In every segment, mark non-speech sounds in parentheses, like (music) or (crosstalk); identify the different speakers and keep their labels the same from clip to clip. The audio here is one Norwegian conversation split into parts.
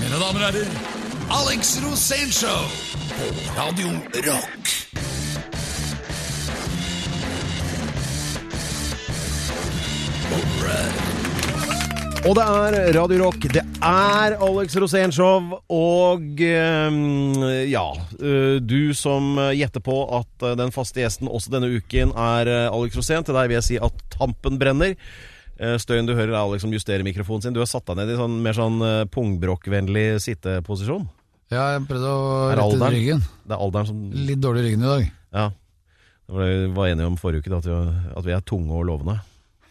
Speaker 1: Mine damer og herrer, Alex Rosénshow på Radio Rock.
Speaker 2: Og det er Radio Rock, det er Alex Rosénshow, og eh, ja eh, Du som eh, gjetter på at eh, den faste gjesten også denne uken er eh, Alex Rosén, til deg vil jeg si at tampen brenner. Eh, Støyen du hører, er Alex som justerer mikrofonen sin. Du har satt deg ned i sånn mer sånn eh, pungbrokkvennlig sitteposisjon.
Speaker 3: Ja, jeg prøvde å
Speaker 2: Er
Speaker 3: rette ut
Speaker 2: alderen?
Speaker 3: ryggen.
Speaker 2: Det er alderen som
Speaker 3: Litt dårlig i ryggen i dag.
Speaker 2: Ja. Det var det vi var enige om forrige uke, da, at vi- at vi er tunge og lovende.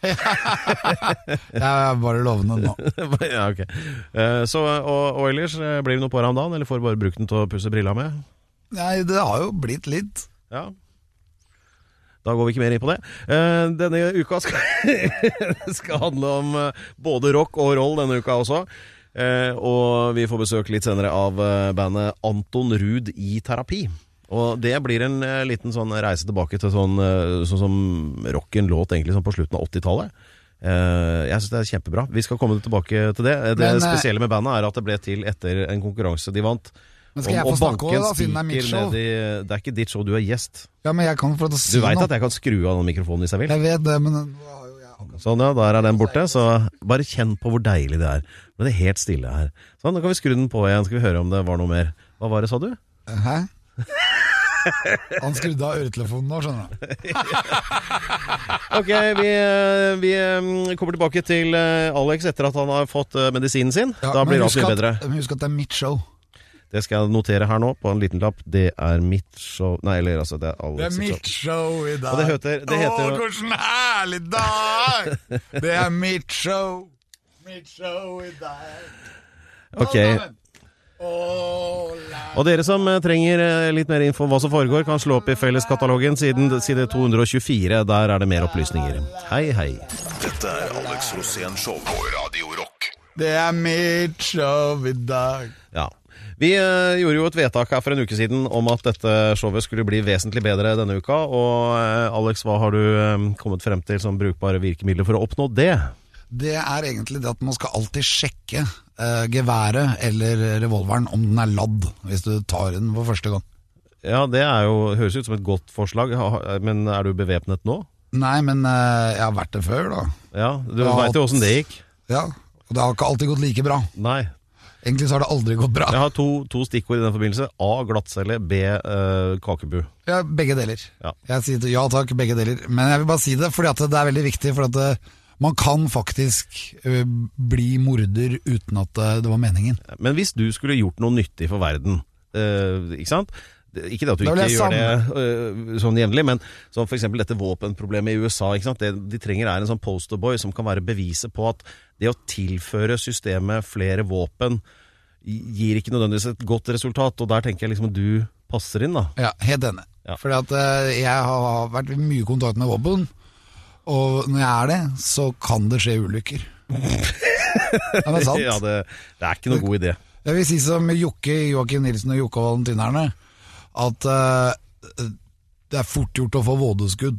Speaker 2: (laughs)
Speaker 3: Jeg er bare lovende nå.
Speaker 2: ja, ok. Eh, Så, og, og ellers, eh, blir det noe på deg om dagen, eller får du bare brukt den til å pusse brilla med?
Speaker 3: Nei, det har jo blitt litt.
Speaker 2: Ja. Da går vi ikke mer inn på det. Eh, Denne uka skal, (laughs) skal handle om eh, både rock og roll denne uka også. Eh, Og vi får besøk litt senere av eh, bandet Anton Ruud i terapi. Og det blir en eh, liten sånn reise tilbake til sånn, eh, sånn som rocken låt egentlig sånn på slutten av 80-tallet. Eh, Jeg syns det er kjempebra. Vi skal komme tilbake til det. Eh, Det
Speaker 3: Men, eh,
Speaker 2: spesielle med bandet er at det ble til etter en konkurranse de vant.
Speaker 3: Men skal jeg få
Speaker 2: Om å
Speaker 3: snakke
Speaker 2: banke
Speaker 3: også,
Speaker 2: en
Speaker 3: da, siden det er mitt
Speaker 2: spiker
Speaker 3: show?
Speaker 2: ned i- Det er ikke ditt show, du er gjest.
Speaker 3: Ja, men jeg kan få lov til å
Speaker 2: Du
Speaker 3: si
Speaker 2: veit
Speaker 3: noe.
Speaker 2: at jeg kan skru av den mikrofonen hvis jeg vil?
Speaker 3: Jeg vet det, men nå har jo jeg akkurat
Speaker 2: Sånn, ja, der er den borte. Så bare kjenn på hvor deilig det er. Men det er helt stille her. Sånn, nå kan vi skru den på igjen, skal vi høre om det var noe mer. Hva var det, sa du?
Speaker 3: Hæ? Han skrudde av øretelefonen nå, skjønner du.
Speaker 2: Ok, vi, eh, vi eh, kommer tilbake til eh, Alex etter at han har fått eh, medisinen sin.
Speaker 3: Ja,
Speaker 2: da
Speaker 3: men
Speaker 2: blir alt
Speaker 3: husk
Speaker 2: mye
Speaker 3: at-
Speaker 2: bedre.
Speaker 3: Men husk at det er mitt show.
Speaker 2: Det skal jeg notere her nå på en liten lapp. Det er mitt show Nei, eller altså, det er Alex sitt show.
Speaker 3: show i dag.
Speaker 2: Og det heter- det heter-
Speaker 3: Å, hvordan herlig dag!
Speaker 2: (laughs)
Speaker 3: Det er mitt show. Mitt show i dag.
Speaker 2: Ok.
Speaker 3: Åh,
Speaker 2: Og dere som eh, trenger eh, litt mer info om hva som foregår, kan slå opp i felleskatalogen siden side 224. Der er det mer opplysninger. Hei, hei.
Speaker 1: Dette er Alex Rosénshow på Radio Rock.
Speaker 3: Det er mitt show i dag.
Speaker 2: Ja. Vi eh, gjorde jo et vedtak her for en uke siden om at dette showet skulle bli vesentlig bedre denne uka. Og eh, Alex, hva har du eh, kommet frem til som brukbare virkemidler for å oppnå det?
Speaker 3: Det er egentlig det at man skal alltid sjekke eh, geværet eller revolveren om den er ladd, hvis du tar den for første gang.
Speaker 2: Ja, det er jo, høres ut som et godt forslag, Ha- ha- men er du bevæpnet nå?
Speaker 3: Nei, men eh, jeg har vært det før, da.
Speaker 2: Ja, du
Speaker 3: Ja.
Speaker 2: veit jo åssen det gikk.
Speaker 3: Ja, og det har ikke alltid gått like bra.
Speaker 2: Nei.
Speaker 3: Egentlig så har det aldri gått bra.
Speaker 2: Jeg har to, to stikkord i den forbindelse. A. Glattcelle. B. Eh, kakebu.
Speaker 3: Ja, begge deler.
Speaker 2: Ja.
Speaker 3: Jeg sier ja takk, begge deler. Men jeg vil bare si det, fordi at det er veldig viktig. For at det, man kan faktisk ø, bli morder uten at eh, det- det var meningen.
Speaker 2: Men hvis du skulle gjort noe nyttig for verden, eh, ikke sant? Det- Ikke det at du
Speaker 3: Da vil
Speaker 2: ikke
Speaker 3: jeg
Speaker 2: gjør det eh, sånn jevnlig, men sånn for eksempel dette våpenproblemet i USA. Ikke sant? Det de trenger er en sånn posterboy som kan være beviset på at det å tilføre systemet flere våpen gir ikke nødvendigvis et godt resultat, og der tenker jeg liksom at du passer inn, da.
Speaker 3: Ja, helt enig.
Speaker 2: Ja.
Speaker 3: Fordi at eh, jeg har vært i mye kontakt med våpen, og når jeg er det, så kan det skje ulykker. ja, det er sant.
Speaker 2: (laughs) Ja, det, det er ikke noe god idé.
Speaker 3: Jeg vil si som Jokke, Joakim Nilsen og Jokke og Valentinerne, at eh, det er fort gjort å få vådeskudd.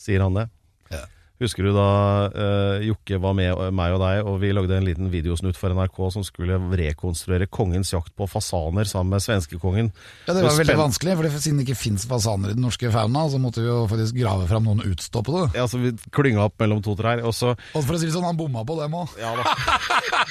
Speaker 2: sier han det.
Speaker 3: Ja.
Speaker 2: Husker du da eh, Jokke var med eh, meg og deg, og vi lagde en liten videosnutt for NRK som skulle rekonstruere kongens jakt på fasaner sammen med svenskekongen.
Speaker 3: Ja, Det var
Speaker 2: Så
Speaker 3: veldig
Speaker 2: spenn-
Speaker 3: vanskelig, for det- siden det ikke fins fasaner i den norske fauna, så måtte vi jo faktisk grave fram noen utstoppede.
Speaker 2: Ja, så vi klynga opp mellom to trær, og så
Speaker 3: Og for å si det sånn, han bomma på dem òg.
Speaker 2: ja, da. (laughs)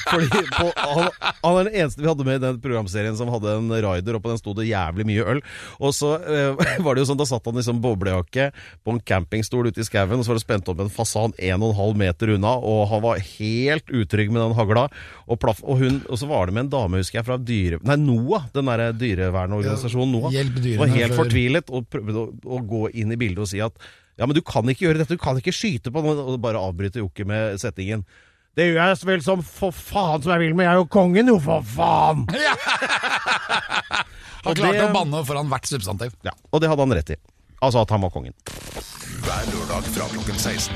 Speaker 2: Fordi på, han, han er den eneste vi hadde med i den programserien som hadde en rider, og på den sto det jævlig mye øl. Og så eh, (laughs) var det jo sånn, da satt han i sånn boblejakke på en campingstol ute i skauen, og så var det spent opp en fasan 1,5 meter unna, og han var helt utrygg med den hagla. Og, plaff, og, hun, og så var det med en dame, husker jeg, fra dyre... Nei, NOAH, den derre dyrevernorganisasjonen NOAH.
Speaker 3: Hjelp dyrene
Speaker 2: Var helt
Speaker 3: før-
Speaker 2: fortvilet og prøvde å, å gå inn i bildet og si at ja, men du kan ikke gjøre dette, du kan ikke skyte på noen, og bare avbryte Jokke med setningen. Det gjør jeg vel som for faen som jeg vil, men jeg er jo kongen, jo, for faen!
Speaker 3: Han
Speaker 2: Og
Speaker 3: klarte
Speaker 2: det-
Speaker 3: å banne foran hvert substantiv.
Speaker 2: Ja, og det hadde han rett i. Altså at han var kongen.
Speaker 1: Hver lørdag fra klokken 16.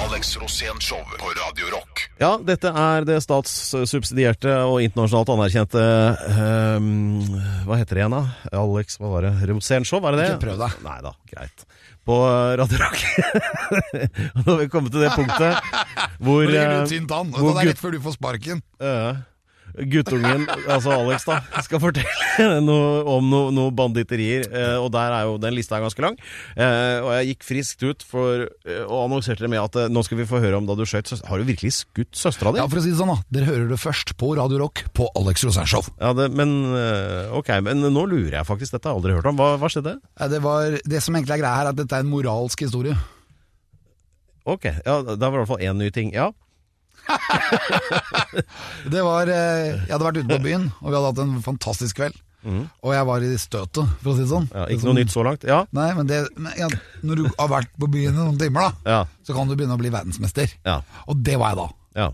Speaker 1: Alex Rosénshow på Radio Rock.
Speaker 2: Ja, dette er det statssubsidierte og internasjonalt anerkjente ehm, Hva heter det igjen, da? Alex, hva var det? Rosénshow, er det det?
Speaker 3: Ikke prøv deg.
Speaker 2: Nei da, greit. På eh, Radio Rock. (laughs) Nå
Speaker 3: (laughs)
Speaker 2: har vi kommet til det punktet hvor,
Speaker 3: Nå ligger
Speaker 2: eh,
Speaker 3: du tynt an.
Speaker 2: hvor
Speaker 3: og Det er rett før du får sparken.
Speaker 2: Ja. Eh, guttungen, altså Alex, da, skal fortelle (laughs) noe om noe- noe banditterier. eh, Og der er jo den lista er ganske lang. Eh, Og jeg gikk friskt ut for, eh, og annonserte det med at eh, nå skal vi få høre om da du skjøt søs- Har du virkelig skutt søstera di?
Speaker 3: Ja, for å si det sånn, da. Dere hører det først på Radio Rock på Alex Rosénshow.
Speaker 2: Ja, det, men eh, ok, men nå lurer jeg faktisk. Dette har jeg aldri hørt om. Hva, hva skjedde?
Speaker 3: Eh, Det, var, det som egentlig er greia her, er at dette er en moralsk historie.
Speaker 2: Ok, ja, da var det i hvert fall én ny ting. Ja.
Speaker 3: Det var, eh, jeg hadde vært ute (laughs) på byen, og vi hadde hatt en fantastisk kveld. Og jeg var i støtet, for å si det sånn.
Speaker 2: ja
Speaker 3: Det
Speaker 2: ikke
Speaker 3: som-
Speaker 2: noe nytt så langt? Ja.
Speaker 3: Nei, men, det, men ja, når du har vært på byen i noen timer, da,
Speaker 2: Ja.
Speaker 3: så kan du begynne å bli verdensmester.
Speaker 2: Ja.
Speaker 3: Og det var jeg da.
Speaker 2: ja.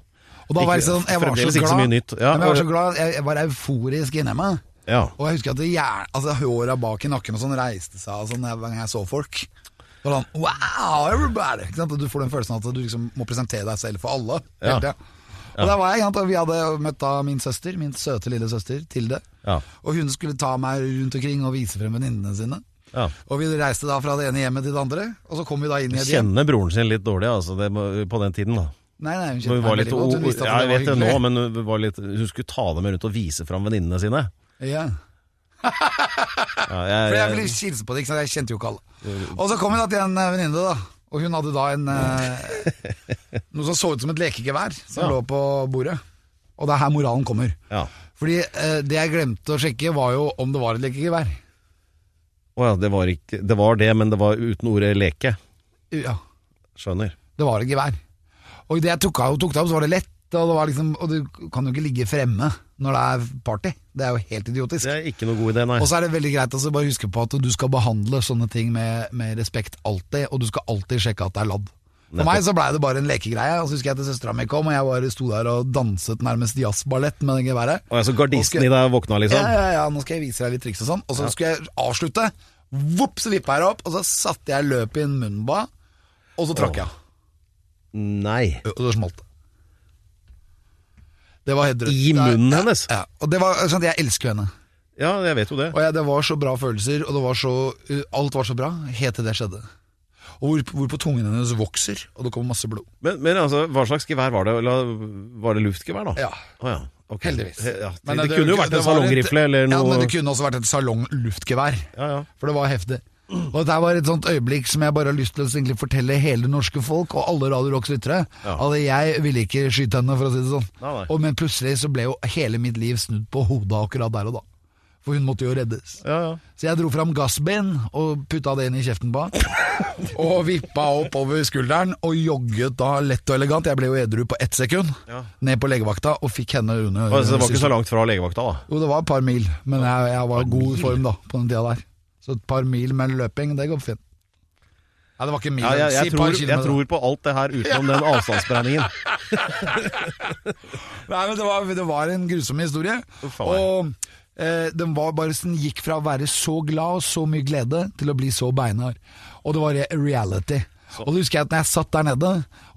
Speaker 3: Og da var jeg,
Speaker 2: Ikke-
Speaker 3: sånn, jeg var så
Speaker 2: fremdeles
Speaker 3: glad.
Speaker 2: ikke så mye nytt. Ja,
Speaker 3: men jeg var så
Speaker 2: og-
Speaker 3: glad, jeg, jeg var euforisk inni meg.
Speaker 2: ja.
Speaker 3: Og jeg husker at det hjern- altså, håra bak i nakken og sånn reiste seg og sånn, hver gang jeg så folk. Så var det sånn, wow, everybody! Ikke sant? Og Du får den følelsen at du liksom må presentere deg selv for alle. hele
Speaker 2: Ja.
Speaker 3: tiden. Og der var jeg, ikke sant? og Vi hadde møtt da min søster, min søte lille søster, Tilde.
Speaker 2: Ja.
Speaker 3: Og hun skulle ta meg rundt omkring og vise frem venninnene sine.
Speaker 2: Ja.
Speaker 3: Og vi reiste da fra det ene hjemmet til det andre, og så kom vi da inn i et hjem.
Speaker 2: Kjenner broren sin litt dårlig, altså, det, må- på den tiden, da.
Speaker 3: Nei, nei, hun
Speaker 2: Hun
Speaker 3: kjente meg
Speaker 2: var litt
Speaker 3: veldig godt. Hun visste at
Speaker 2: ja, jeg
Speaker 3: det
Speaker 2: vet
Speaker 3: var
Speaker 2: det nå,
Speaker 3: hyggelig.
Speaker 2: men hun, var litt, hun skulle ta dem rundt og vise fram venninnene sine.
Speaker 3: Ja.
Speaker 2: Ja,
Speaker 3: For jeg
Speaker 2: jeg,
Speaker 3: ville
Speaker 2: jeg,
Speaker 3: hilse på det, ikke sant? jeg kjente jo ikke alle. Og så kom jeg da til en eh, venninne, da. Og hun hadde da en eh, Noe som så ut som et lekegevær som
Speaker 2: Ja.
Speaker 3: lå på bordet. Og det er her moralen kommer.
Speaker 2: ja.
Speaker 3: Fordi eh, det jeg glemte å sjekke, var jo om det var et lekegevær.
Speaker 2: Å ja, det var, ikke, det var det, men det var uten ordet leke.
Speaker 3: Ja,
Speaker 2: Skjønner.
Speaker 3: det var et gevær. Og idet jeg tok, av, tok det opp, så var det lett. Og, det var liksom, og du kan jo ikke ligge fremme når det er party. Det er jo helt idiotisk.
Speaker 2: Det er ikke noe god idé, nei.
Speaker 3: (laughs) Og så er det veldig greit å altså, bare huske på at du skal behandle sånne ting med, med respekt alltid, og du skal alltid sjekke at det er ladd. For
Speaker 2: Nettopp.
Speaker 3: meg så blei det bare en lekegreie, og så husker jeg at søstera mi kom, og jeg bare sto der og danset nærmest jazzballett med det geværet.
Speaker 2: Å ja, så gardisten
Speaker 3: Og
Speaker 2: i deg våkna,
Speaker 3: Ja,
Speaker 2: liksom?
Speaker 3: ja, ja, nå skal jeg vise deg litt triks og sånn. Og så skulle jeg avslutte, vopp, så vippa jeg det opp, og så satte jeg løpet i en munnba, og så trakk jeg.
Speaker 2: Nei.
Speaker 3: Og så smalt det. Det var helt drøyt.
Speaker 2: I munnen hennes?
Speaker 3: Ja, og det var sånn at jeg elsker henne.
Speaker 2: Ja, jeg vet jo det.
Speaker 3: Og jeg, det var så bra følelser, og det var så, uh, alt var så bra, helt til det skjedde. Og hvor, hvorpå tungen hennes vokser, og det kommer masse blod.
Speaker 2: Men, men altså, hva slags gevær var det? Eller, var det luftgevær, da?
Speaker 3: Ja.
Speaker 2: Å ja. ok.
Speaker 3: Heldigvis.
Speaker 2: He- Ja, det,
Speaker 3: Men
Speaker 2: det, kunne jo vært
Speaker 3: det
Speaker 2: en
Speaker 3: var et-
Speaker 2: salongrifle eller noe
Speaker 3: Ja, men det kunne også vært et salongluftgevær,
Speaker 2: ja, ja.
Speaker 3: for det var heftig. Og det var et sånt øyeblikk som jeg bare har lyst til å egentlig fortelle hele det norske folk og alle Radio Rocks lyttere
Speaker 2: Ja.
Speaker 3: at jeg ville ikke skyte henne, for å si det sånn.
Speaker 2: Nei, nei.
Speaker 3: Og, men plutselig så ble jo hele mitt liv snudd på hodet akkurat der og da. For hun måtte jo reddes.
Speaker 2: ja, ja.
Speaker 3: Så jeg dro fram gassben og putta det inn i kjeften på han. (laughs) Og vippa opp over skulderen og jogget da lett og elegant. Jeg ble jo edru på ett sekund.
Speaker 2: Ja.
Speaker 3: Ned på legevakta og fikk henne under.
Speaker 2: Altså, det var ikke så langt fra legevakta, da?
Speaker 3: Jo, det var et par mil, men jeg, jeg var i god form da på den tida der. Så et par mil med løping, det går fint. Nei, det var ikke mil,
Speaker 2: Ja, jeg, jeg,
Speaker 3: si et par
Speaker 2: tror, jeg
Speaker 3: kilometer.
Speaker 2: tror på alt det her utenom den avstandsberegningen.
Speaker 3: Nei, men det var, det var en grusom historie.
Speaker 2: Uff, faen meg.
Speaker 3: Og eh, den var bare sånn, gikk fra å være så glad og så mye glede til å bli så beinhard. Og det var re- reality. Og det husker jeg at når jeg satt der nede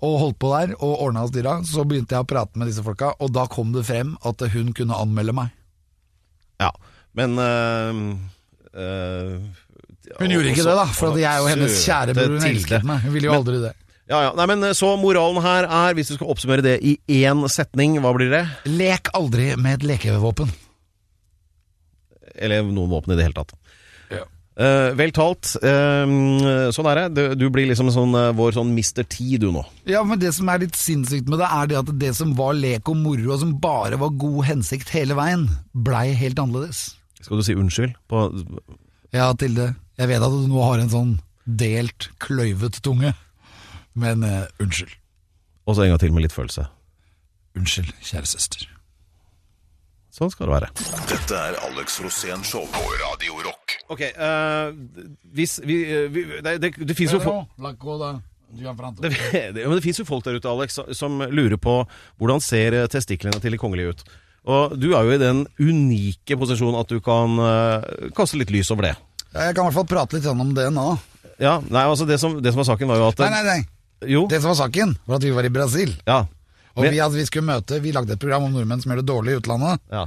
Speaker 3: og holdt på der og ordna og styra, så begynte jeg å prate med disse folka, og da kom det frem at hun kunne anmelde meg.
Speaker 2: Ja, men eh, eh,
Speaker 3: Hun gjorde ikke
Speaker 2: også-
Speaker 3: det, da, for at jeg og hennes
Speaker 2: Søte
Speaker 3: kjærebror hun
Speaker 2: Tilde.
Speaker 3: elsket meg. Hun ville jo aldri det.
Speaker 2: Ja, ja. Nei, men eh, Så moralen her er, hvis du skal oppsummere det i én setning, hva blir det?
Speaker 3: Lek aldri med et lekevåpen.
Speaker 2: Eller noen våpen i det hele tatt.
Speaker 3: Ja.
Speaker 2: Eh, vel talt. eh, sånn er det. Du, du blir liksom sånn, eh, vår sånn Mr. T, du nå.
Speaker 3: Ja, men det som er litt sinnssykt med det, er det at det som var lek og moro, og som bare var god hensikt hele veien, blei helt annerledes.
Speaker 2: Skal du si unnskyld? På,
Speaker 3: Ja, Tilde, jeg vet at du nå har en sånn delt, kløyvet tunge, men eh, unnskyld.
Speaker 2: og så en gang til med litt følelse.
Speaker 3: Unnskyld, kjære søster.
Speaker 2: Sånn skal det være.
Speaker 1: Dette er Alex Rosén Show på Radio Rock.
Speaker 2: Ok, eh, hvis vi, eh, vi Det, det, det fins jo folk Det, (laughs) det, men det fins jo folk der ute, Alex, som lurer på hvordan ser eh, testiklene til de kongelige ut. Og du er jo i den unike posisjonen at du kan eh, kaste litt lys over det.
Speaker 3: Jeg kan i hvert fall prate litt sånn om det nå.
Speaker 2: Ja, nei, altså Det som, det som var saken, var jo at
Speaker 3: Nei, nei, nei.
Speaker 2: Jo,
Speaker 3: Det som var saken, var at vi var i Brasil.
Speaker 2: ja.
Speaker 3: Og
Speaker 2: Men-
Speaker 3: vi, hadde, vi skulle møte, vi lagde et program om nordmenn som gjør det dårlig i utlandet.
Speaker 2: ja.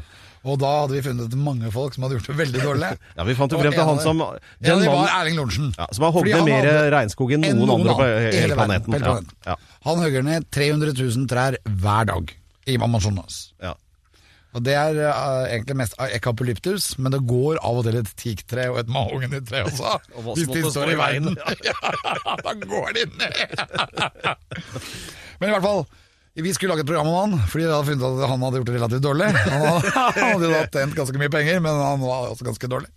Speaker 3: Og da hadde vi funnet mange folk som hadde gjort det veldig dårlig. (laughs)
Speaker 2: Ja, vi fant jo
Speaker 3: Og
Speaker 2: frem til
Speaker 3: en
Speaker 2: han
Speaker 3: av-
Speaker 2: som-
Speaker 3: Ja,
Speaker 2: den
Speaker 3: det var
Speaker 2: mannen-
Speaker 3: Erling Lorentzen.
Speaker 2: ja som har hogd
Speaker 3: Fordi
Speaker 2: ned
Speaker 3: han
Speaker 2: mer
Speaker 3: hadde-
Speaker 2: regnskog enn
Speaker 3: enn
Speaker 2: noen, andre på
Speaker 3: annen
Speaker 2: he-
Speaker 3: i
Speaker 2: hele
Speaker 3: verden,
Speaker 2: planeten.
Speaker 3: på hele planeten.
Speaker 2: Ja,
Speaker 3: Han hugger ned 300 000 trær hver dag i Amazonas.
Speaker 2: ja, ja.
Speaker 3: Og det er eh, egentlig mest ekapolyptus, men det går av og til et teaktre og et mahognytre også.
Speaker 2: (laughs) Og hva som
Speaker 3: hvis de
Speaker 2: måtte stå
Speaker 3: står
Speaker 2: i
Speaker 3: i
Speaker 2: veien.
Speaker 3: veien. (laughs) Ja, da går de ned! (laughs) men i hvert fall, vi skulle lage et program om han, fordi jeg hadde funnet at han hadde gjort det relativt dårlig. Han hadde, (laughs) han hadde jo da tjent ganske mye penger, men han var også ganske dårlig.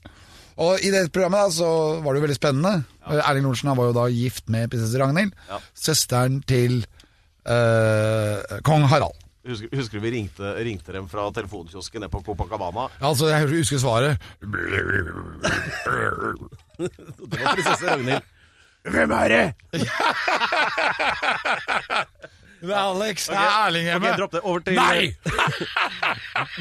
Speaker 3: Og i det programmet da, så var det jo veldig spennende. Erling Lorentzen han var jo da gift med prinsesse Ragnhild, søsteren til eh, kong Harald.
Speaker 2: Husker, husker du vi ringte, ringte dem fra telefonkiosken nede på (laughs) Copacabana?
Speaker 3: Altså, jeg husker svaret.
Speaker 2: Det var prinsesse Ragnhild.
Speaker 3: Hvem er det? det er Alex. Det er Erling hjemme.
Speaker 2: Ok, dropp det. Over til
Speaker 3: Nei!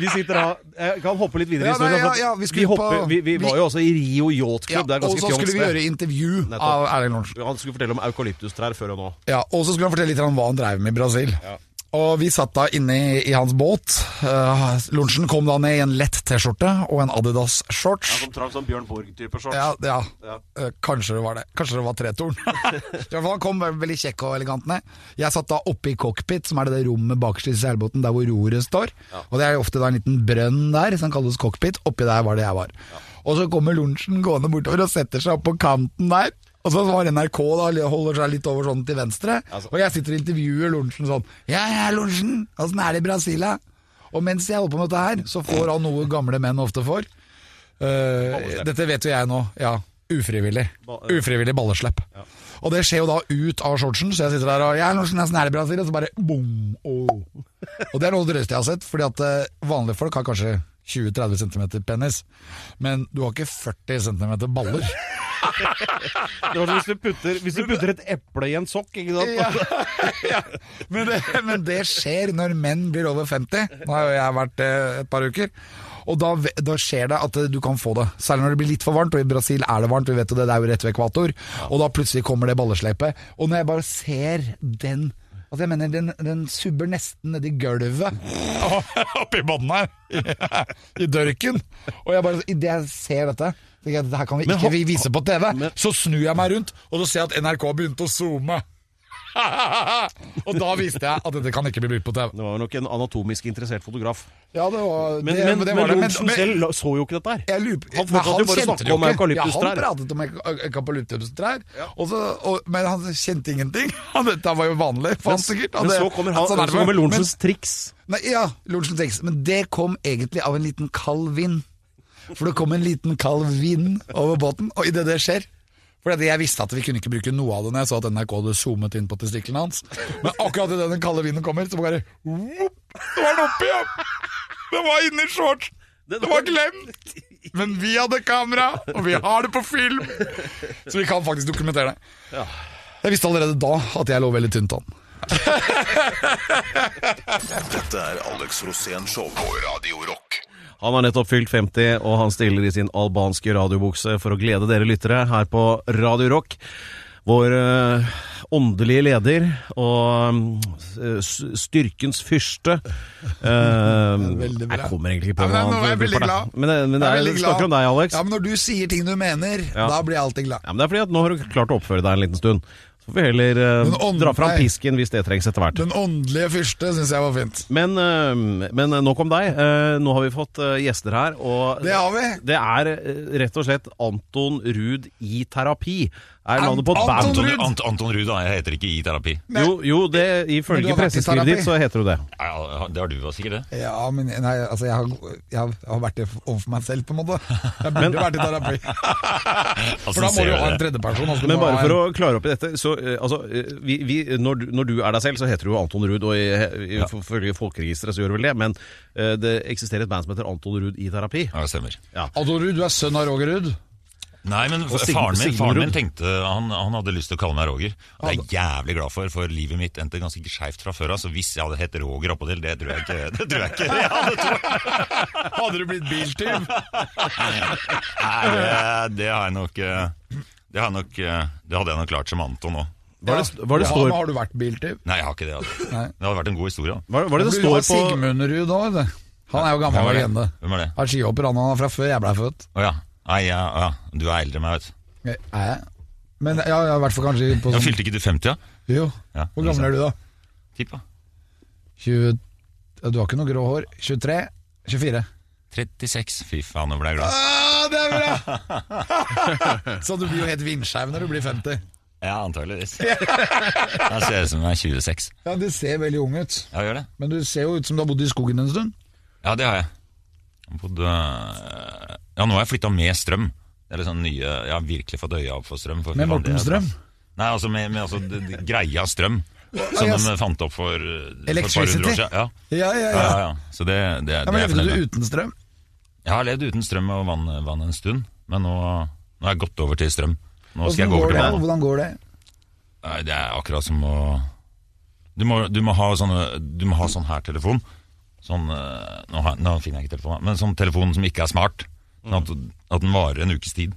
Speaker 2: Vi sitter da Jeg kan hoppe litt videre
Speaker 3: Ja,
Speaker 2: i historien.
Speaker 3: nei, ja,
Speaker 2: for
Speaker 3: ja,
Speaker 2: at
Speaker 3: vi
Speaker 2: vi,
Speaker 3: skulle på-
Speaker 2: hopper, vi, vi
Speaker 3: vi-
Speaker 2: var jo også i Rio Yacht
Speaker 3: Ja,
Speaker 2: Club. det er
Speaker 3: og
Speaker 2: ganske
Speaker 3: så skulle vi
Speaker 2: fjongt,
Speaker 3: gjøre intervju
Speaker 2: Nettopp.
Speaker 3: av Erling Lorentzen.
Speaker 2: det. Han skulle fortelle om eukalyptustrær før og nå.
Speaker 3: Ja, og så skulle han fortelle litt om hva han drev med i Brasil. Og vi satt da inne i, i hans båt. Uh, Lorentzen kom da ned i en lett T-skjorte og en Adidas-shorts.
Speaker 2: Som trakk sånn Bjørn Borg-type shorts.
Speaker 3: Ja, ja.
Speaker 2: Ja.
Speaker 3: Eh, Kanskje det var det. Kanskje det var tretorn.
Speaker 2: (laughs)
Speaker 3: I hvert fall Han kom ve- veldig kjekk og elegant ned. Jeg satt da oppe i cockpit, som er det der rommet bakerst i seilbåten der hvor roret står. Og Det er jo ofte da en liten brønn der, som kalles cockpit. Oppi der var det jeg var. Og så kommer lunsjen gående bortover og setter seg opp på kanten der. Og så var NRK da, holder seg litt over sånn til venstre.
Speaker 2: Altså-
Speaker 3: Og jeg sitter og intervjuer Lorentzen sånn. Ja, ja, Lorentzen, åssen er det i Brasilia? Og mens jeg holder på med dette her, så får han noe gamle menn ofte får. Eh,
Speaker 2: Balleslepp.
Speaker 3: dette vet jo jeg nå, ja. Ufrivillig.
Speaker 2: Ba- eh.
Speaker 3: Ufrivillig balleslepp. Og det skjer jo da ut av shortsen, så jeg sitter der og Ja, Norsen er snær i Brasil, og så bare boom. Oh. Og det er noe av det drøyeste jeg har sett, fordi at eh, vanlige folk har kanskje 20-30 cm penis, men du har ikke 40 cm baller.
Speaker 2: Det var som hvis du putter, hvis du putter et eple i en sokk, ikke sant?
Speaker 3: Men det, men det skjer når menn blir over 50. Nå har jo jeg vært eh, et par uker. Og da, ve- da skjer det at eh, du kan få det. Særlig når det blir litt for varmt, og i Brasil er det varmt. Vi vet jo det, det er jo rett ved ekvator. Og da plutselig kommer det balleslepet. Og når jeg bare ser den Altså jeg mener, Den, den subber nesten nedi gulvet. Oppi bånden her! (laughs) I dørken. Og jeg bare, idet jeg ser dette tenker jeg, Det her kan vi
Speaker 2: Men
Speaker 3: ikke
Speaker 2: ho-
Speaker 3: vi vise på TV.
Speaker 2: men-
Speaker 3: Så snur jeg meg rundt, og så ser jeg at NRK begynte å zoome. (laughs) og da visste jeg at dette kan ikke bli brukt på TV.
Speaker 2: Det var nok en anatomisk interessert fotograf.
Speaker 3: Ja, det var
Speaker 2: Men,
Speaker 3: det,
Speaker 2: men,
Speaker 3: det
Speaker 2: men,
Speaker 3: var det,
Speaker 2: Lorentzen selv la- så jo ikke dette her.
Speaker 3: jeg lurer,
Speaker 2: Han
Speaker 3: Nei,
Speaker 2: fortsatte jo bare å
Speaker 3: kjente det
Speaker 2: snakke
Speaker 3: jo
Speaker 2: om
Speaker 3: ikke. Ja,
Speaker 2: eukalyptustrær.
Speaker 3: han pratet om ek- eukalyptustrær, og så- og- men han kjente ingenting. (laughs) Han, dette var jo vanlig for han sikkert. og
Speaker 2: Men
Speaker 3: det-
Speaker 2: så kommer, han,
Speaker 3: sånn er det
Speaker 2: så kommer
Speaker 3: vel.
Speaker 2: Lorentzens triks.
Speaker 3: Men- Nei, ja, Lorentzen Trix. Men det kom egentlig av en liten kald vind. For det kom en liten kald vind over båten, og idet det skjer fordi at jeg visste at vi kunne ikke bruke noe av det når jeg så at NRK hadde zoomet inn på testiklene hans. Men akkurat idet den kalde vinden kommer, så bare whoop, Så var den oppe igjen! Den var inni shortsen!
Speaker 2: Den
Speaker 3: Det
Speaker 2: var-
Speaker 3: var glemt! Men vi hadde kamera, og vi har det på film! Så vi kan faktisk dokumentere det. Jeg visste allerede da at jeg lå veldig tynt an.
Speaker 1: Dette er Alex Rosén Show på Radio Rock.
Speaker 2: Han har nettopp fylt 50, og han stiller i sin albanske radiobukse for å glede dere lyttere her på Radio Rock. Vår eh, åndelige leder og eh, s- styrkens fyrste eh,
Speaker 3: veldig bra.
Speaker 2: Jeg kommer egentlig
Speaker 3: Ja,
Speaker 2: ikke på
Speaker 3: men
Speaker 2: noe
Speaker 3: nå er jeg
Speaker 2: annet.
Speaker 3: veldig glad.
Speaker 2: Men, det- men
Speaker 3: Jeg
Speaker 2: det er,
Speaker 3: er
Speaker 2: vi
Speaker 3: veldig glad.
Speaker 2: snakker om deg, Alex.
Speaker 3: Ja, men når du sier ting du mener,
Speaker 2: Ja.
Speaker 3: da blir jeg alltid glad.
Speaker 2: Ja, men det er fordi at nå har du klart å oppføre deg en liten stund. Så får vi heller eh,
Speaker 3: Den ånd-
Speaker 2: dra fram
Speaker 3: nei.
Speaker 2: pisken hvis det trengs etter hvert.
Speaker 3: Den åndelige fyrste syns jeg var fint.
Speaker 2: Men, eh, men nok om deg. Eh, Nå har vi fått eh, gjester her, og
Speaker 3: Det har vi.
Speaker 2: det er eh, rett og slett Anton Ruud i terapi. Er navnet på
Speaker 3: Anton
Speaker 2: band...
Speaker 3: Ruud?
Speaker 4: Anton, Ant, Anton Ruud, da. Jeg heter ikke i terapi.
Speaker 2: Jo, jo,
Speaker 3: Men
Speaker 2: det
Speaker 3: du
Speaker 2: ifølge
Speaker 3: har vært i
Speaker 2: presseskrivet
Speaker 3: terapi?
Speaker 2: ditt så heter du det.
Speaker 4: Ja, ja, det har du også, sikkert det.
Speaker 3: Ja, men nei, altså, jeg har, jeg har, jeg har vært det overfor meg selv, på en måte. Jeg burde vært i
Speaker 2: (laughs)
Speaker 3: terapi.
Speaker 4: Altså,
Speaker 3: For da må
Speaker 4: ser
Speaker 3: du
Speaker 4: jeg
Speaker 3: ha
Speaker 4: det.
Speaker 3: en tredjeperson. altså, du
Speaker 2: Men
Speaker 3: må
Speaker 2: bare
Speaker 3: ha en-
Speaker 2: for å klare opp i dette, så eh, altså eh, vi, vi, når, du- når du er deg selv, så heter du jo Anton Ruud, og i- i- ifølge folkeregisteret så gjør du vel det, men eh, det eksisterer et band som heter Anton Ruud i terapi.
Speaker 4: Ja, det stemmer.
Speaker 3: Anton Ruud, du er sønn av Roger Ruud.
Speaker 4: Nei, men
Speaker 2: Og Sigmund-
Speaker 4: faren min, faren
Speaker 2: Sigmund.
Speaker 4: min tenkte han, han hadde lyst til å kalle meg Roger. Og det er jeg jævlig glad for, for livet mitt endte ganske ikke skeivt fra før av. Så hvis jeg hadde hett Roger oppåtil, det tror jeg ikke (laughs) Det tror jeg ikke jeg hadde trodd.
Speaker 3: Hadde du blitt biltyv?
Speaker 4: Nei, det- det har jeg nok eh, Det har jeg nok eh, Det hadde jeg nok klart som Anton òg.
Speaker 2: Hva er det, hva er det
Speaker 3: Ja,
Speaker 2: står
Speaker 3: men Har du vært biltyv?
Speaker 4: Nei, jeg har ikke det. Altså.
Speaker 3: Nei.
Speaker 4: Det hadde vært en god historie. da.
Speaker 2: Hva er det, hva er det, det
Speaker 3: Du har
Speaker 2: står på
Speaker 3: Sigmund Ruud òg, vet du. Han er jo gammel
Speaker 4: Hvem er det?
Speaker 3: legende.
Speaker 4: Hvem er det?
Speaker 3: Er skihopper, han han er fra før jeg blei født.
Speaker 4: Å ja. Nei, ja, ja. Du er eldre enn meg, vet du.
Speaker 3: Er jeg? Men ja, ja, i hvert fall kanskje på
Speaker 4: Ja,
Speaker 3: sånn
Speaker 4: Fylte ikke du 50, da?
Speaker 3: Jo.
Speaker 4: Ja,
Speaker 3: Hvor gammel er du da?
Speaker 4: Tippa.
Speaker 3: 20 Du har ikke noe grå hår. 23? 24.
Speaker 4: 36. Fy faen, nå ble jeg glad.
Speaker 3: Ah, det er bra! (laughs) så du blir jo helt vindskeiv når du blir 50.
Speaker 4: Ja,
Speaker 3: (laughs)
Speaker 4: antageligvis. Jeg ser ut som jeg er 26.
Speaker 3: Ja, Du ser veldig ung ut,
Speaker 4: Ja, gjør det.
Speaker 3: men du ser jo ut som du har bodd i skogen en stund.
Speaker 4: Ja, det har jeg. jeg bodde, ja, nå har jeg flytta med strøm. Det er liksom nye, Jeg har virkelig fått øya opp for strøm. For fy
Speaker 3: Med
Speaker 4: faen, det er
Speaker 3: Morten
Speaker 4: bra.
Speaker 3: Strøm?
Speaker 4: Nei, altså med, med altså, d- d- greia strøm. Som
Speaker 3: ja,
Speaker 4: de fant opp for, for et par hundre
Speaker 3: Electricity?
Speaker 4: år siden. Ja.
Speaker 3: Ja, ja,
Speaker 4: Ja,
Speaker 3: ja.
Speaker 4: ja, ja. Så det, det, det
Speaker 3: ja
Speaker 4: er
Speaker 3: men
Speaker 4: jeg
Speaker 3: Levde
Speaker 4: fornøyd
Speaker 3: du
Speaker 4: med.
Speaker 3: uten strøm?
Speaker 4: Jeg har levd uten strøm og vann, vann en stund, men nå, nå har jeg gått over til strøm. Nå skal jeg gå
Speaker 3: Hvordan går
Speaker 4: over til
Speaker 3: det?
Speaker 4: vann.
Speaker 3: Hvordan går det?
Speaker 4: Nei, det er akkurat som å Du må, du må, ha, sånne, du må ha sånn her telefon. Sånn, eh, nå, har, nå finner jeg ikke telefonen, men sånn telefon som ikke er smart. Sånn at, at den varer en ukes tid.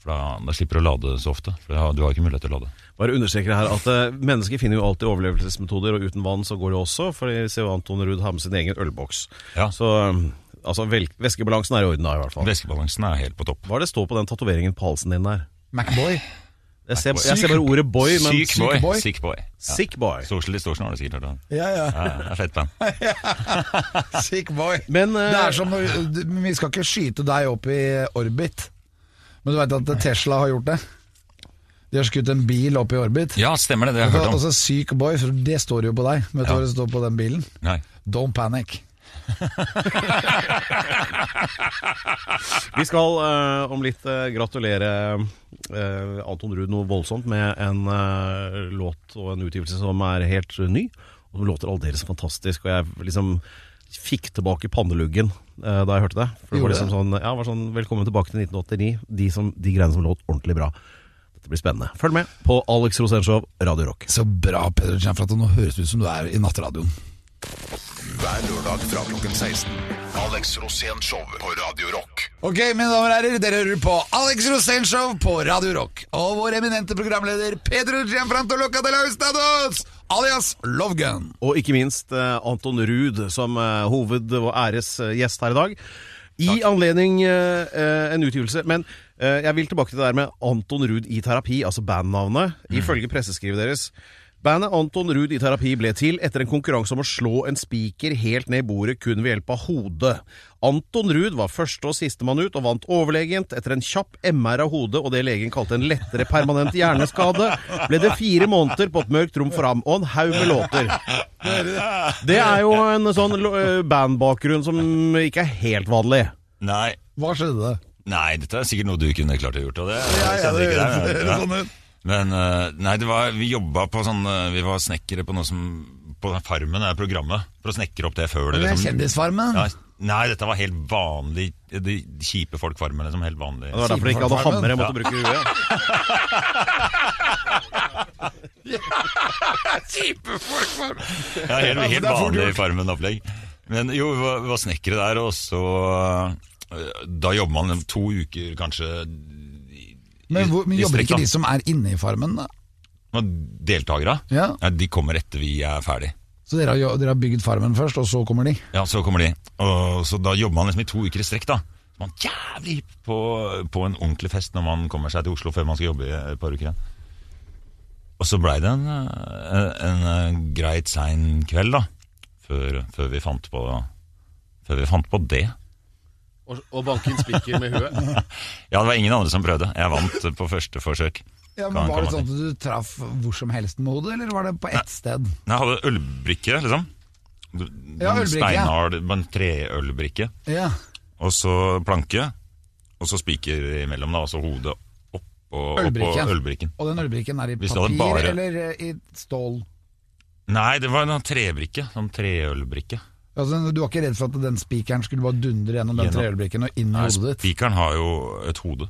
Speaker 4: For da, da slipper du å lade så ofte. For da, du har ikke mulighet til å lade.
Speaker 2: Bare understreker her at eh, mennesker finner jo alltid overlevelsesmetoder, og uten vann så går det også, fordi ser jo Anton Ruud har med sin egen ølboks.
Speaker 4: Ja.
Speaker 2: Så eh, altså, vel, væskebalansen er i orden da, i hvert fall.
Speaker 4: Væskebalansen er helt på topp.
Speaker 2: Hva er det står på den tatoveringen på halsen din der?
Speaker 3: Macboy?
Speaker 2: Jeg ser, jeg ser bare ordet boy, men
Speaker 4: Syk boy.
Speaker 3: boy?
Speaker 4: Sick boy. Ja.
Speaker 2: sick boy.
Speaker 4: Social distortion har du sikkert hørt om.
Speaker 3: Ja, ja.
Speaker 4: Ja, ja, det er fett band.
Speaker 3: Sick boy.
Speaker 2: Men eh,
Speaker 3: Det er som når du- Vi skal ikke skyte deg opp i orbit, men du veit at Tesla har gjort det? De har skutt en bil opp i orbit.
Speaker 4: Ja, stemmer det. Det har jeg
Speaker 3: Og
Speaker 4: hørt
Speaker 3: så syk boy, for det står jo på deg. Vet du
Speaker 4: Ja.
Speaker 3: hva det står på den bilen?
Speaker 4: om. Nei.
Speaker 3: Don't panic.
Speaker 2: vi skal eh, om litt eh, gratulere eh, Anton Ruud noe voldsomt med en eh, låt og en utgivelse som er helt ny, og som låter aldeles fantastisk. Og jeg liksom fikk tilbake panneluggen eh, da jeg hørte det. For det
Speaker 3: Gjorde
Speaker 2: var liksom
Speaker 3: det?
Speaker 2: sånn, ja, det var sånn Velkommen tilbake til 1989. De, som, de greiene som låt ordentlig bra. Dette blir spennende. Følg med på Alex Rosenshov, Radio Rock.
Speaker 3: Så bra, Peder Kjernflaten. Nå høres det ut som du er i Nattradioen.
Speaker 1: Hver lørdag fra klokken 16. Alex Rosén Show på Radio Rock.
Speaker 3: Ok, mine damer og herrer, dere hører på Alex Rosén Show på Radio Rock. Og vår eminente programleder Pedro Gianfrantoloca de la Hustados, alias Lovgun.
Speaker 2: Og ikke minst eh, Anton Ruud som eh, hoved- og æresgjest her i dag. I anledning eh, eh, en utgivelse. Men eh, jeg vil tilbake til det der med Anton Ruud i terapi, altså bandnavnet, ifølge presseskrivet deres. Bandet Anton Ruud i terapi ble til etter en konkurranse om å slå en spiker helt ned i bordet kun ved hjelp av hodet. Anton Ruud var første og sistemann ut, og vant overlegent. Etter en kjapp MR av hodet og det legen kalte en lettere permanent hjerneskade, ble det fire måneder på et mørkt rom for ham, og en haug med låter. Det er jo en sånn lo- eh, bandbakgrunn som ikke er helt vanlig.
Speaker 4: Nei.
Speaker 3: Hva skjedde?
Speaker 4: Nei, dette er sikkert noe du kunne klart å gjort. Og det,
Speaker 3: ja,
Speaker 4: kjenner
Speaker 3: det
Speaker 4: ikke deg,
Speaker 3: høres
Speaker 4: ja.
Speaker 3: sånn ut.
Speaker 4: Men eh, nei, det var, vi jobba på sånn eh, Vi var snekkere på noe som På Farmen er programmet for å snekre opp det før
Speaker 3: Det
Speaker 4: det
Speaker 3: er
Speaker 4: liksom-
Speaker 3: Kjendisfarmen.
Speaker 4: Ja, nei, dette var helt vanlig De kjipe folk Farmen, liksom. Helt vanlig.
Speaker 2: Det var derfor de ikke hadde hammer jeg måtte bruke i huet.
Speaker 4: Ja, helt, helt
Speaker 3: det er fort
Speaker 4: vanlig
Speaker 3: gjort.
Speaker 4: Farmen-opplegg. Men jo, vi var, vi var snekkere der, og så eh, Da jobber man to uker, kanskje.
Speaker 3: Men hvor, men
Speaker 4: i
Speaker 3: jobber
Speaker 4: strekk,
Speaker 3: ikke
Speaker 4: da.
Speaker 3: de som er inne i Farmen, da?
Speaker 4: Men Deltakere
Speaker 3: Ja.
Speaker 4: ja, de kommer etter vi er ferdig.
Speaker 3: Så dere har, jo- dere har bygd Farmen først, og så kommer de?
Speaker 4: Ja, så kommer de. Og, så da jobber man liksom i to uker i strekk, da. Så man er jævlig hipp på, på en ordentlig fest når man kommer seg til Oslo før man skal jobbe i et par uker igjen. Og så blei det en, eh, en, eh, greit sein kveld, da. Før, før, vi fant på, før vi fant på det.
Speaker 2: Og, banke inn spiker med huet.
Speaker 4: (laughs) Ja, det var ingen andre som prøvde. Jeg vant på første forsøk.
Speaker 3: Ja,
Speaker 4: Kan-
Speaker 3: men Var
Speaker 4: kan
Speaker 3: det
Speaker 4: man
Speaker 3: sånn at du traff hvor som helst med hodet, eller var det på ett sted?
Speaker 4: Nei, Jeg hadde ølbrikke, liksom.
Speaker 3: Ja,
Speaker 4: En
Speaker 3: ølbrikke, ja.
Speaker 4: Steinhard, en treølbrikke.
Speaker 3: Ja.
Speaker 4: Og så planke, og så spiker imellom, da. Og så hodet oppå
Speaker 3: Ølbrikke.
Speaker 4: oppå ølbrikken.
Speaker 3: Og den ølbrikken er i
Speaker 4: Hvis du
Speaker 3: papir
Speaker 4: hadde bare-
Speaker 3: eller eh, i stål?
Speaker 4: Nei, det var en trebrikke. Sånn treølbrikke.
Speaker 3: Altså, du var ikke redd for at den spikeren skulle bare dundre gjennom den
Speaker 4: Gjennom.
Speaker 3: treølbrikken og inn i
Speaker 4: Nei,
Speaker 3: hodet ditt?
Speaker 4: Spikeren har jo et hode.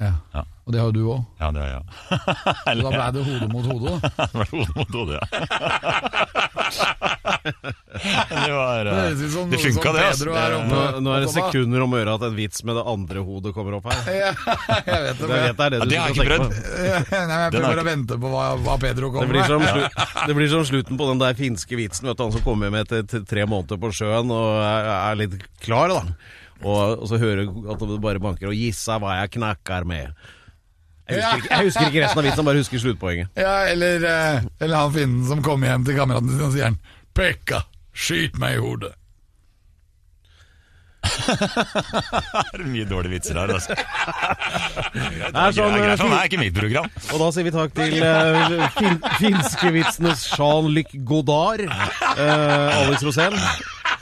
Speaker 3: Ja.
Speaker 4: Ja.
Speaker 3: Og det har jo du òg.
Speaker 4: Ja, (laughs) det er jeg.
Speaker 3: Da ble det hode mot hode.
Speaker 4: (laughs)
Speaker 3: da.
Speaker 4: Det var hode mot hode, ja. (laughs) det var
Speaker 3: Det
Speaker 4: eh,
Speaker 3: høres ut som
Speaker 4: Det altså.
Speaker 3: noe
Speaker 4: funka,
Speaker 3: som
Speaker 4: det. ass.
Speaker 3: Pedro er oppe-
Speaker 2: Nå, (laughs) nå er det sekunder om å gjøre at en vits med det andre hodet kommer opp her.
Speaker 3: (laughs) Ja, jeg vet det.
Speaker 2: Det,
Speaker 3: men-
Speaker 2: vet, det er det
Speaker 4: Ja,
Speaker 2: du
Speaker 4: det har jeg
Speaker 2: skal
Speaker 4: ikke
Speaker 2: tenke
Speaker 4: prøvd.
Speaker 3: (laughs)
Speaker 2: på.
Speaker 3: Nei, men jeg
Speaker 4: Den er
Speaker 3: prøver å
Speaker 4: ikke-
Speaker 3: vente på hva, hva Pedro
Speaker 2: Det
Speaker 3: kommer
Speaker 2: blir, som
Speaker 3: med.
Speaker 2: slu, det blir som slutten på den der finske vitsen. Vet du, han som kommer hjem etter t- tre måneder på sjøen og er, er litt klar, da. Og, og så hører du at det bare banker og 'gissa hva jeg knakker med'. Jeg husker, ikke, jeg husker ikke resten av vitsen, jeg bare husker sluttpoenget.
Speaker 3: Ja, eller, eh, eller han finnen som kommer hjem til kameraten sin og sier han, 'Pekka, skyt meg i hodet'.
Speaker 4: (laughs) Det er mye dårlige vitser her, altså. Det er,
Speaker 2: Det er sånn,
Speaker 4: greit,
Speaker 2: eh,
Speaker 4: for meg er ikke mitt program.
Speaker 2: Og da sier vi takk til eh, fin finskevitsenes Jean-Luc Godard, eh, Alex Rosén.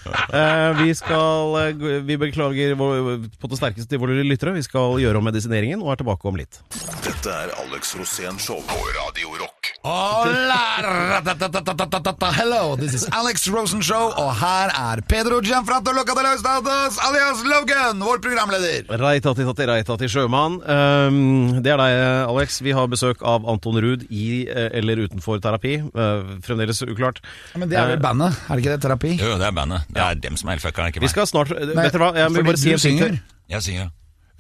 Speaker 2: Eh, vi skal eh, gå- Vi beklager vår, på det sterkeste til våre lyttere. Vi skal gjøre om medisineringen og er tilbake om litt.
Speaker 1: Dette er Alex Rosén Show på Radio Rock.
Speaker 3: Hola, ratatatatata, hello, this is Alex Rosen Show, og her er Pedro Gianfranto Locatelaustatus, alias Logan, vår programleder.
Speaker 2: Reitati tati reitati sjømann. Um, det er deg, Alex. Vi har besøk av Anton Ruud i eh, eller utenfor terapi. Eh, fremdeles uklart.
Speaker 3: Men det er
Speaker 2: Eh,
Speaker 3: vel bandet, er det ikke det? Terapi?
Speaker 4: Jo, det er bandet. Det er dem som er fuckeren,
Speaker 2: Vi
Speaker 4: ikke meg.
Speaker 2: skal snart eh, Vet dere hva, jeg vil
Speaker 3: fordi
Speaker 2: bare si
Speaker 3: du
Speaker 2: en ting til.
Speaker 3: synger.
Speaker 4: Jeg synger.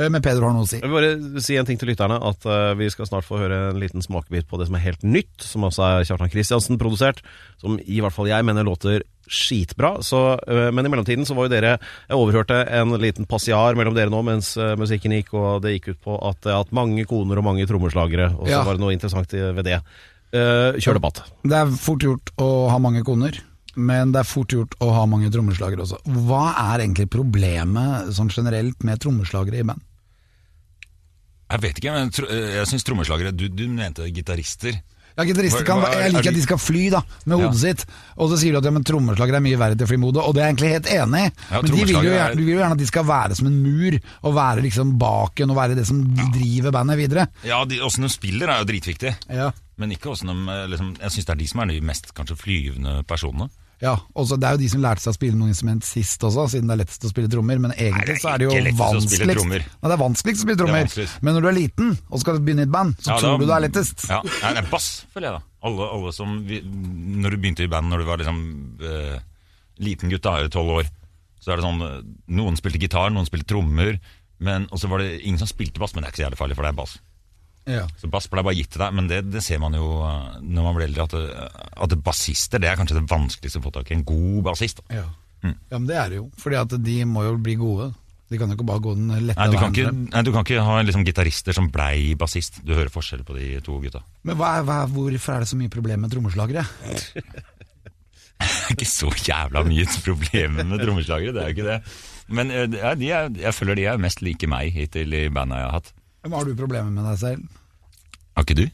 Speaker 3: Eh, Men Pedro har noe å si.
Speaker 2: Jeg vil bare si en ting til lytterne, at eh, vi skal snart få høre en liten smakebit på det som er helt nytt, som altså er Kjartan Kristiansen produsert, som i hvert fall jeg mener låter skitbra. Så, eh, men i mellomtiden så var jo dere Jeg overhørte en liten passiar mellom dere nå mens eh, musikken gikk, og det gikk ut på at jeg har hatt mange koner og mange trommeslagere, og så
Speaker 3: Ja.
Speaker 2: var det noe interessant i- ved det. Eh, kjør debatt.
Speaker 3: Det er fort gjort å ha mange koner, men det er fort gjort å ha mange trommeslagere også. Hva er egentlig problemet sånn generelt med trommeslagere i band?
Speaker 4: Jeg vet ikke, men tro- eh, jeg syns trommeslagere du, du mente gitarister.
Speaker 3: Ja, gitarister kan,
Speaker 4: Hva- hva er-
Speaker 3: jeg
Speaker 4: er
Speaker 3: liker
Speaker 4: de-
Speaker 3: at de skal fly da, med hodet sitt, og så sier du at ja, men trommeslagere er mye verre til å fly med hodet, og det er jeg egentlig helt enig i. men de vil
Speaker 4: Ja,
Speaker 3: jo,
Speaker 4: trommeslagere er-
Speaker 3: gjerne, du vil jo gjerne at de skal være som en mur, og være liksom baken, og være det som driver bandet videre.
Speaker 4: Ja, de- åssen de spiller er jo dritviktig.
Speaker 3: Ja.
Speaker 4: Men ikke åssen de eh, liksom, Jeg syns det er de som er de mest kanskje flyvende personene.
Speaker 3: Ja, og så det er jo de som lærte seg å spille noe instrument sist også, siden det er lettest å spille trommer, men
Speaker 4: Nei, det
Speaker 3: egentlig
Speaker 4: er
Speaker 3: så er det jo
Speaker 4: ikke lettest å
Speaker 3: vanskeligst.
Speaker 4: spille trommer.
Speaker 3: Nei, det er vanskeligst å spille
Speaker 4: er
Speaker 3: trommer,
Speaker 4: vanskeligst.
Speaker 3: men når du er liten og skal begynne i et band, så
Speaker 4: Ja,
Speaker 3: tror
Speaker 4: da-
Speaker 3: du det er lettest.
Speaker 4: Ja, Nei, det er bass, føler jeg da. Alle, alle som vi, Når du begynte i band når du var liksom eh, liten gutt, da, tolv år, så er det sånn eh, Noen spilte gitar, noen spilte trommer, men, og så var det ingen som spilte bass, men det er ikke så jævlig farlig, for det er bass.
Speaker 3: Ja.
Speaker 4: Så Bass ble bare gitt til deg, men det, det ser man jo eh, når man blir eldre, at, det- at bassister det er kanskje det vanskeligste å få tak i. En god bassist. da.
Speaker 3: Ja.
Speaker 4: Mm.
Speaker 3: men det er det jo, fordi at de må jo bli gode. De kan jo ikke bare gå den lette
Speaker 4: Nei, du kan
Speaker 3: veien.
Speaker 4: ikke, nei, du kan ikke ha liksom gitarister som blei bassist. Du hører forskjell på de to gutta. (laughs)
Speaker 3: Men hva, er- hva, er- hvorfor er det så mye problem med trommeslagere?
Speaker 4: Det er ikke så jævla mye (laughs) problemer med trommeslagere, det er jo ikke det. Men eh, det er- de er, jeg føler de er mest like meg hittil i banda jeg har hatt.
Speaker 3: Men Har du problemer med deg selv?
Speaker 4: Har ikke du?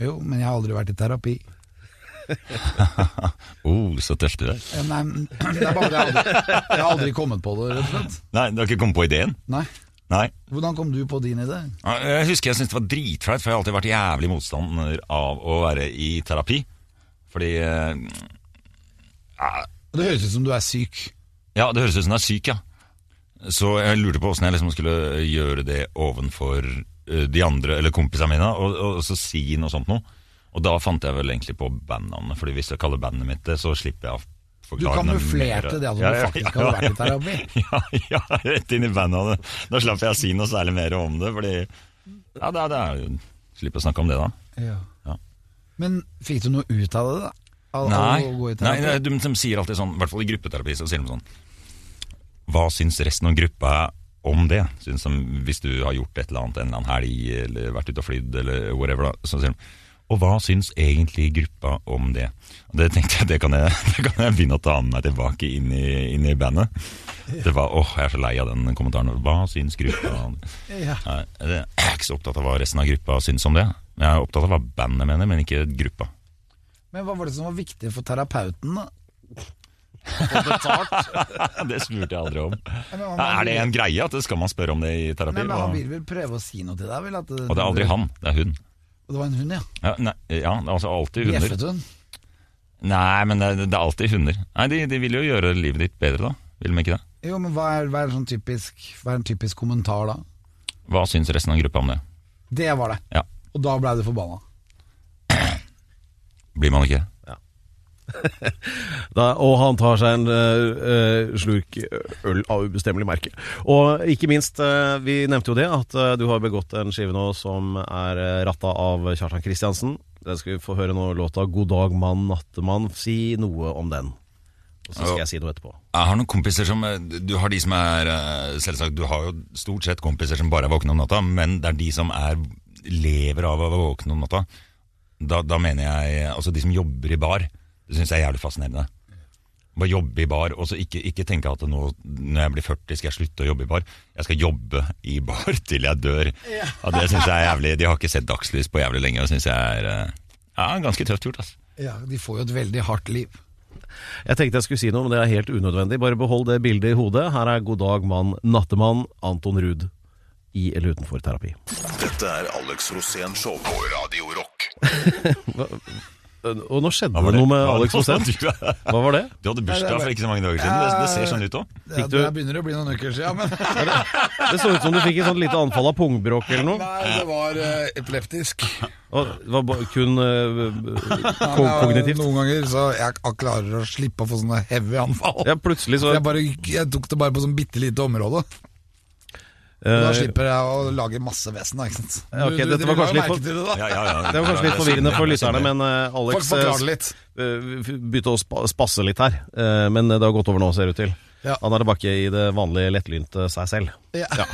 Speaker 3: Jo, men jeg har aldri vært i terapi.
Speaker 4: Oh, så tøft du er.
Speaker 3: Ja, Eh, Nei, men (clears throat) det er bare det jeg aldri, jeg har aldri kommet på det, rett og slett.
Speaker 4: Nei, du har ikke kommet på ideen?
Speaker 3: Nei.
Speaker 4: Nei.
Speaker 3: Hvordan kom du på din idé?
Speaker 4: Ja, Jeg husker jeg syntes det var dritflaut, for jeg har alltid vært jævlig motstander av å være i terapi. Fordi eh,
Speaker 3: Det høres ut som du er syk.
Speaker 4: Ja, det høres ut som du er syk, ja. Så jeg lurte på åssen jeg liksom skulle gjøre det ovenfor eh, de andre, eller kompisene mine, og, og, så si noe sånt noe. Og da fant jeg vel egentlig på bandnavnet, Fordi hvis jeg kaller bandet mitt det, så slipper jeg å
Speaker 3: Du
Speaker 4: forklare
Speaker 3: kamuflerte det at du faktisk hadde vært i terapi.
Speaker 4: (laughs) Ja, ja, rett inn i bandnavnet. Da slapp jeg å si noe særlig mer om det, fordi Ja, det er, det er jo Slipper å snakke om det, da. Ja.
Speaker 3: Men fikk du noe ut av det, da? Av,
Speaker 4: Nei,
Speaker 3: av å gå i
Speaker 4: nei
Speaker 3: terapi?
Speaker 4: de, de, de sier alltid sånn, i hvert fall i gruppeterapi, så sier de sånn Hva syns resten av gruppa om det? Syns de, hvis du har gjort et eller annet en eller annen helg, eller vært ute og flydd, eller whatever, da, så sier de Og hva syns egentlig gruppa om det? Og det tenkte jeg, det kan jeg, (laughs) det kan jeg begynne å ta med meg tilbake inn i, inn i bandet. Det var, åh, jeg er så lei av den kommentaren. Hva syns gruppa om det?
Speaker 3: Ja.
Speaker 4: Nei, Jeg er ikke så opptatt av hva resten av gruppa syns om det. Jeg er opptatt av hva bandet mener, men ikke gruppa.
Speaker 3: Men hva var det som var viktig for terapeuten, da?
Speaker 4: (laughs) Det spurte jeg aldri om.
Speaker 3: men han-
Speaker 4: Nei, Er det en greie at det skal man spørre om det i terapi?
Speaker 3: Nei, men Han
Speaker 4: og,
Speaker 3: vil vel prøve å si noe til deg? vel? At,
Speaker 4: og det er aldri han, det er hun.
Speaker 3: Det var en hund, ja.
Speaker 4: Ja, nei, ja altså alltid hunder.
Speaker 3: Bjeffet hun?
Speaker 4: Nei, men det, er- det er alltid hunder. Nei, de, de vil jo gjøre livet ditt bedre, da. Vil de ikke det?
Speaker 3: Jo, men hva er, hva, er en sånn typisk, hva er en typisk kommentar da?
Speaker 4: Hva syns resten av gruppa om det?
Speaker 3: Det var det.
Speaker 4: Ja,
Speaker 3: Og da blei du forbanna.
Speaker 4: Blir man ikke?
Speaker 2: Da, og han tar seg en eh, eh, slurk øl av ubestemmelig merke. Og ikke minst, eh, vi nevnte jo det, at eh, du har begått en skive nå som er eh, ratta av Kjartan Kristiansen. Den skal vi få høre nå, låta 'God dag, mann, nattemann'. Si noe om den. Og så skal jeg si noe etterpå.
Speaker 4: Jeg har noen kompiser som eh, Du har de som er eh, Selvsagt, du har jo stort sett kompiser som bare er våkne om natta, men det er de som er lever av å være våkne om natta. Da, da mener jeg Altså, de som jobber i bar. Det syns jeg er jævlig fascinerende. Bare jobbe i bar, og så ikke, ikke tenke at nå, når jeg blir 40 skal jeg slutte å jobbe i bar. Jeg skal jobbe i bar (laughs) til jeg dør. Og det synes jeg er jævlig, De har ikke sett dagslys på jævlig lenge, og synes jeg er eh, ja, ganske tøft gjort. ass.
Speaker 3: Ja, de får jo et veldig hardt liv.
Speaker 2: Jeg tenkte jeg skulle si noe, men det er helt unødvendig. Bare behold det bildet i hodet. Her er God dag, mann, nattemann, Anton Ruud. I eller utenfor terapi.
Speaker 1: Dette er Alex Rosén Show på Radio Rock.
Speaker 2: Og nå skjedde
Speaker 4: Hva var
Speaker 2: det
Speaker 4: det?
Speaker 2: noe med
Speaker 4: Hva var det?
Speaker 2: Alex Rosén. Hva var det?
Speaker 4: Du (laughs) hadde bursdag for ikke så mange dager siden. Det, det ser sånn ut òg.
Speaker 3: Det,
Speaker 2: du-
Speaker 3: det begynner å bli noen uker siden, men (laughs)
Speaker 2: Det så ut som du fikk et sånt lite anfall av pungbråk eller noe.
Speaker 3: Nei, det var eh, epileptisk.
Speaker 2: Og det var ba- kun eh,
Speaker 3: Ja,
Speaker 2: ko
Speaker 3: det er
Speaker 2: kognitivt.
Speaker 3: Noen ganger så jeg ak- klarer å slippe å få sånne heavy anfall.
Speaker 2: Ja, plutselig så
Speaker 3: Jeg, bare, jeg tok det bare på sånn bitte lite område. Og Da
Speaker 2: eh,
Speaker 3: slipper jeg å lage masse vesen, da. ikke sant?
Speaker 2: Ja, ok,
Speaker 3: Du- du-
Speaker 2: dette var
Speaker 3: du la
Speaker 2: kanskje
Speaker 3: jo
Speaker 2: litt
Speaker 3: merke
Speaker 2: for-
Speaker 3: til det, da.
Speaker 4: Ja, ja, ja.
Speaker 2: Det var kanskje litt forvirrende for lytterne, men eh,
Speaker 3: Folk
Speaker 2: Alex
Speaker 3: forklarer det litt.
Speaker 2: eh, begynte å spa- spasse litt her. Eh, Men det har gått over nå, ser det ut til.
Speaker 3: Ja.
Speaker 2: Han er tilbake i det vanlige lettlynte seg selv.
Speaker 3: Ja. det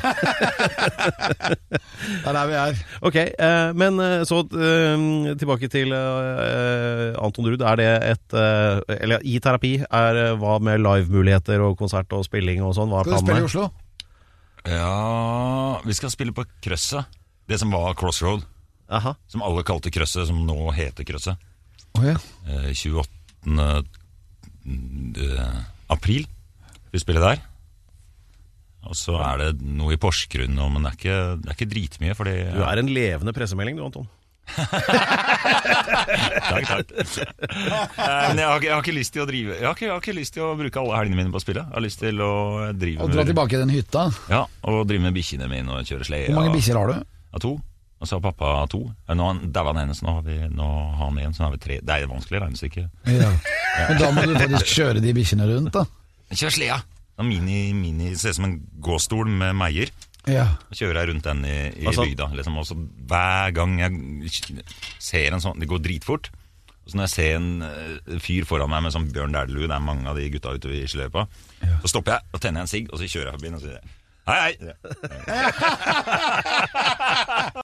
Speaker 3: er (laughs) der vi er.
Speaker 2: Ok, eh, men eh, så eh, tilbake til eh, Anton Ruud. Er det et eh, Eller i terapi, er eh, hva med livemuligheter og konsert og spilling og sånn? Hva er
Speaker 3: Skal du spille i
Speaker 2: planene?
Speaker 3: Oslo?
Speaker 4: Ja, vi skal spille på Krøsset. Det som var Crossroad.
Speaker 2: Aha.
Speaker 4: Som alle kalte Krøsset, som nå heter Krøsset.
Speaker 3: Å ja.
Speaker 4: Eh, 28. eh, april vi spiller der. Og så er det noe i Porsgrunn nå, men det er ikke, det er ikke dritmye. Fordi,
Speaker 2: Du er en levende pressemelding du, Anton.
Speaker 4: Takk, takk. (laughs) Eh, men jeg har, ikke- jeg har ikke lyst til å drive Jeg har ikke, jeg har ikke lyst til å bruke alle helgene mine på å spille. Jeg har lyst til å drive
Speaker 3: Og dra tilbake i den hytta.
Speaker 4: Ja, og drive med bikkjene mine og kjøre slede.
Speaker 3: Hvor mange
Speaker 4: og-
Speaker 3: bikkjer har du?
Speaker 4: Ja, to. Og så har pappa to. Eh, Nå har han- daua han hennes, nå har, vi, nå har han igjen, så nå har vi tre. Det er vanskelig regnestykke.
Speaker 3: Men da må du faktisk kjøre de bikkjene rundt, da.
Speaker 4: Kjør sleda! Det er Mini, mini, ser ut som en gåstol med meier.
Speaker 3: Ja.
Speaker 4: Så kjører jeg rundt den i, i
Speaker 2: Altså-
Speaker 4: bygda. Liksom. Og så hver gang jeg ser en sånn Det går dritfort. Og så når jeg ser en eh, fyr foran meg med sånn Bjørn Dæhlie, det er mange av de gutta ute i skiløypa, så stopper jeg og tenner jeg en sigg, og så kjører jeg forbi den og sier jeg, Hei, hei!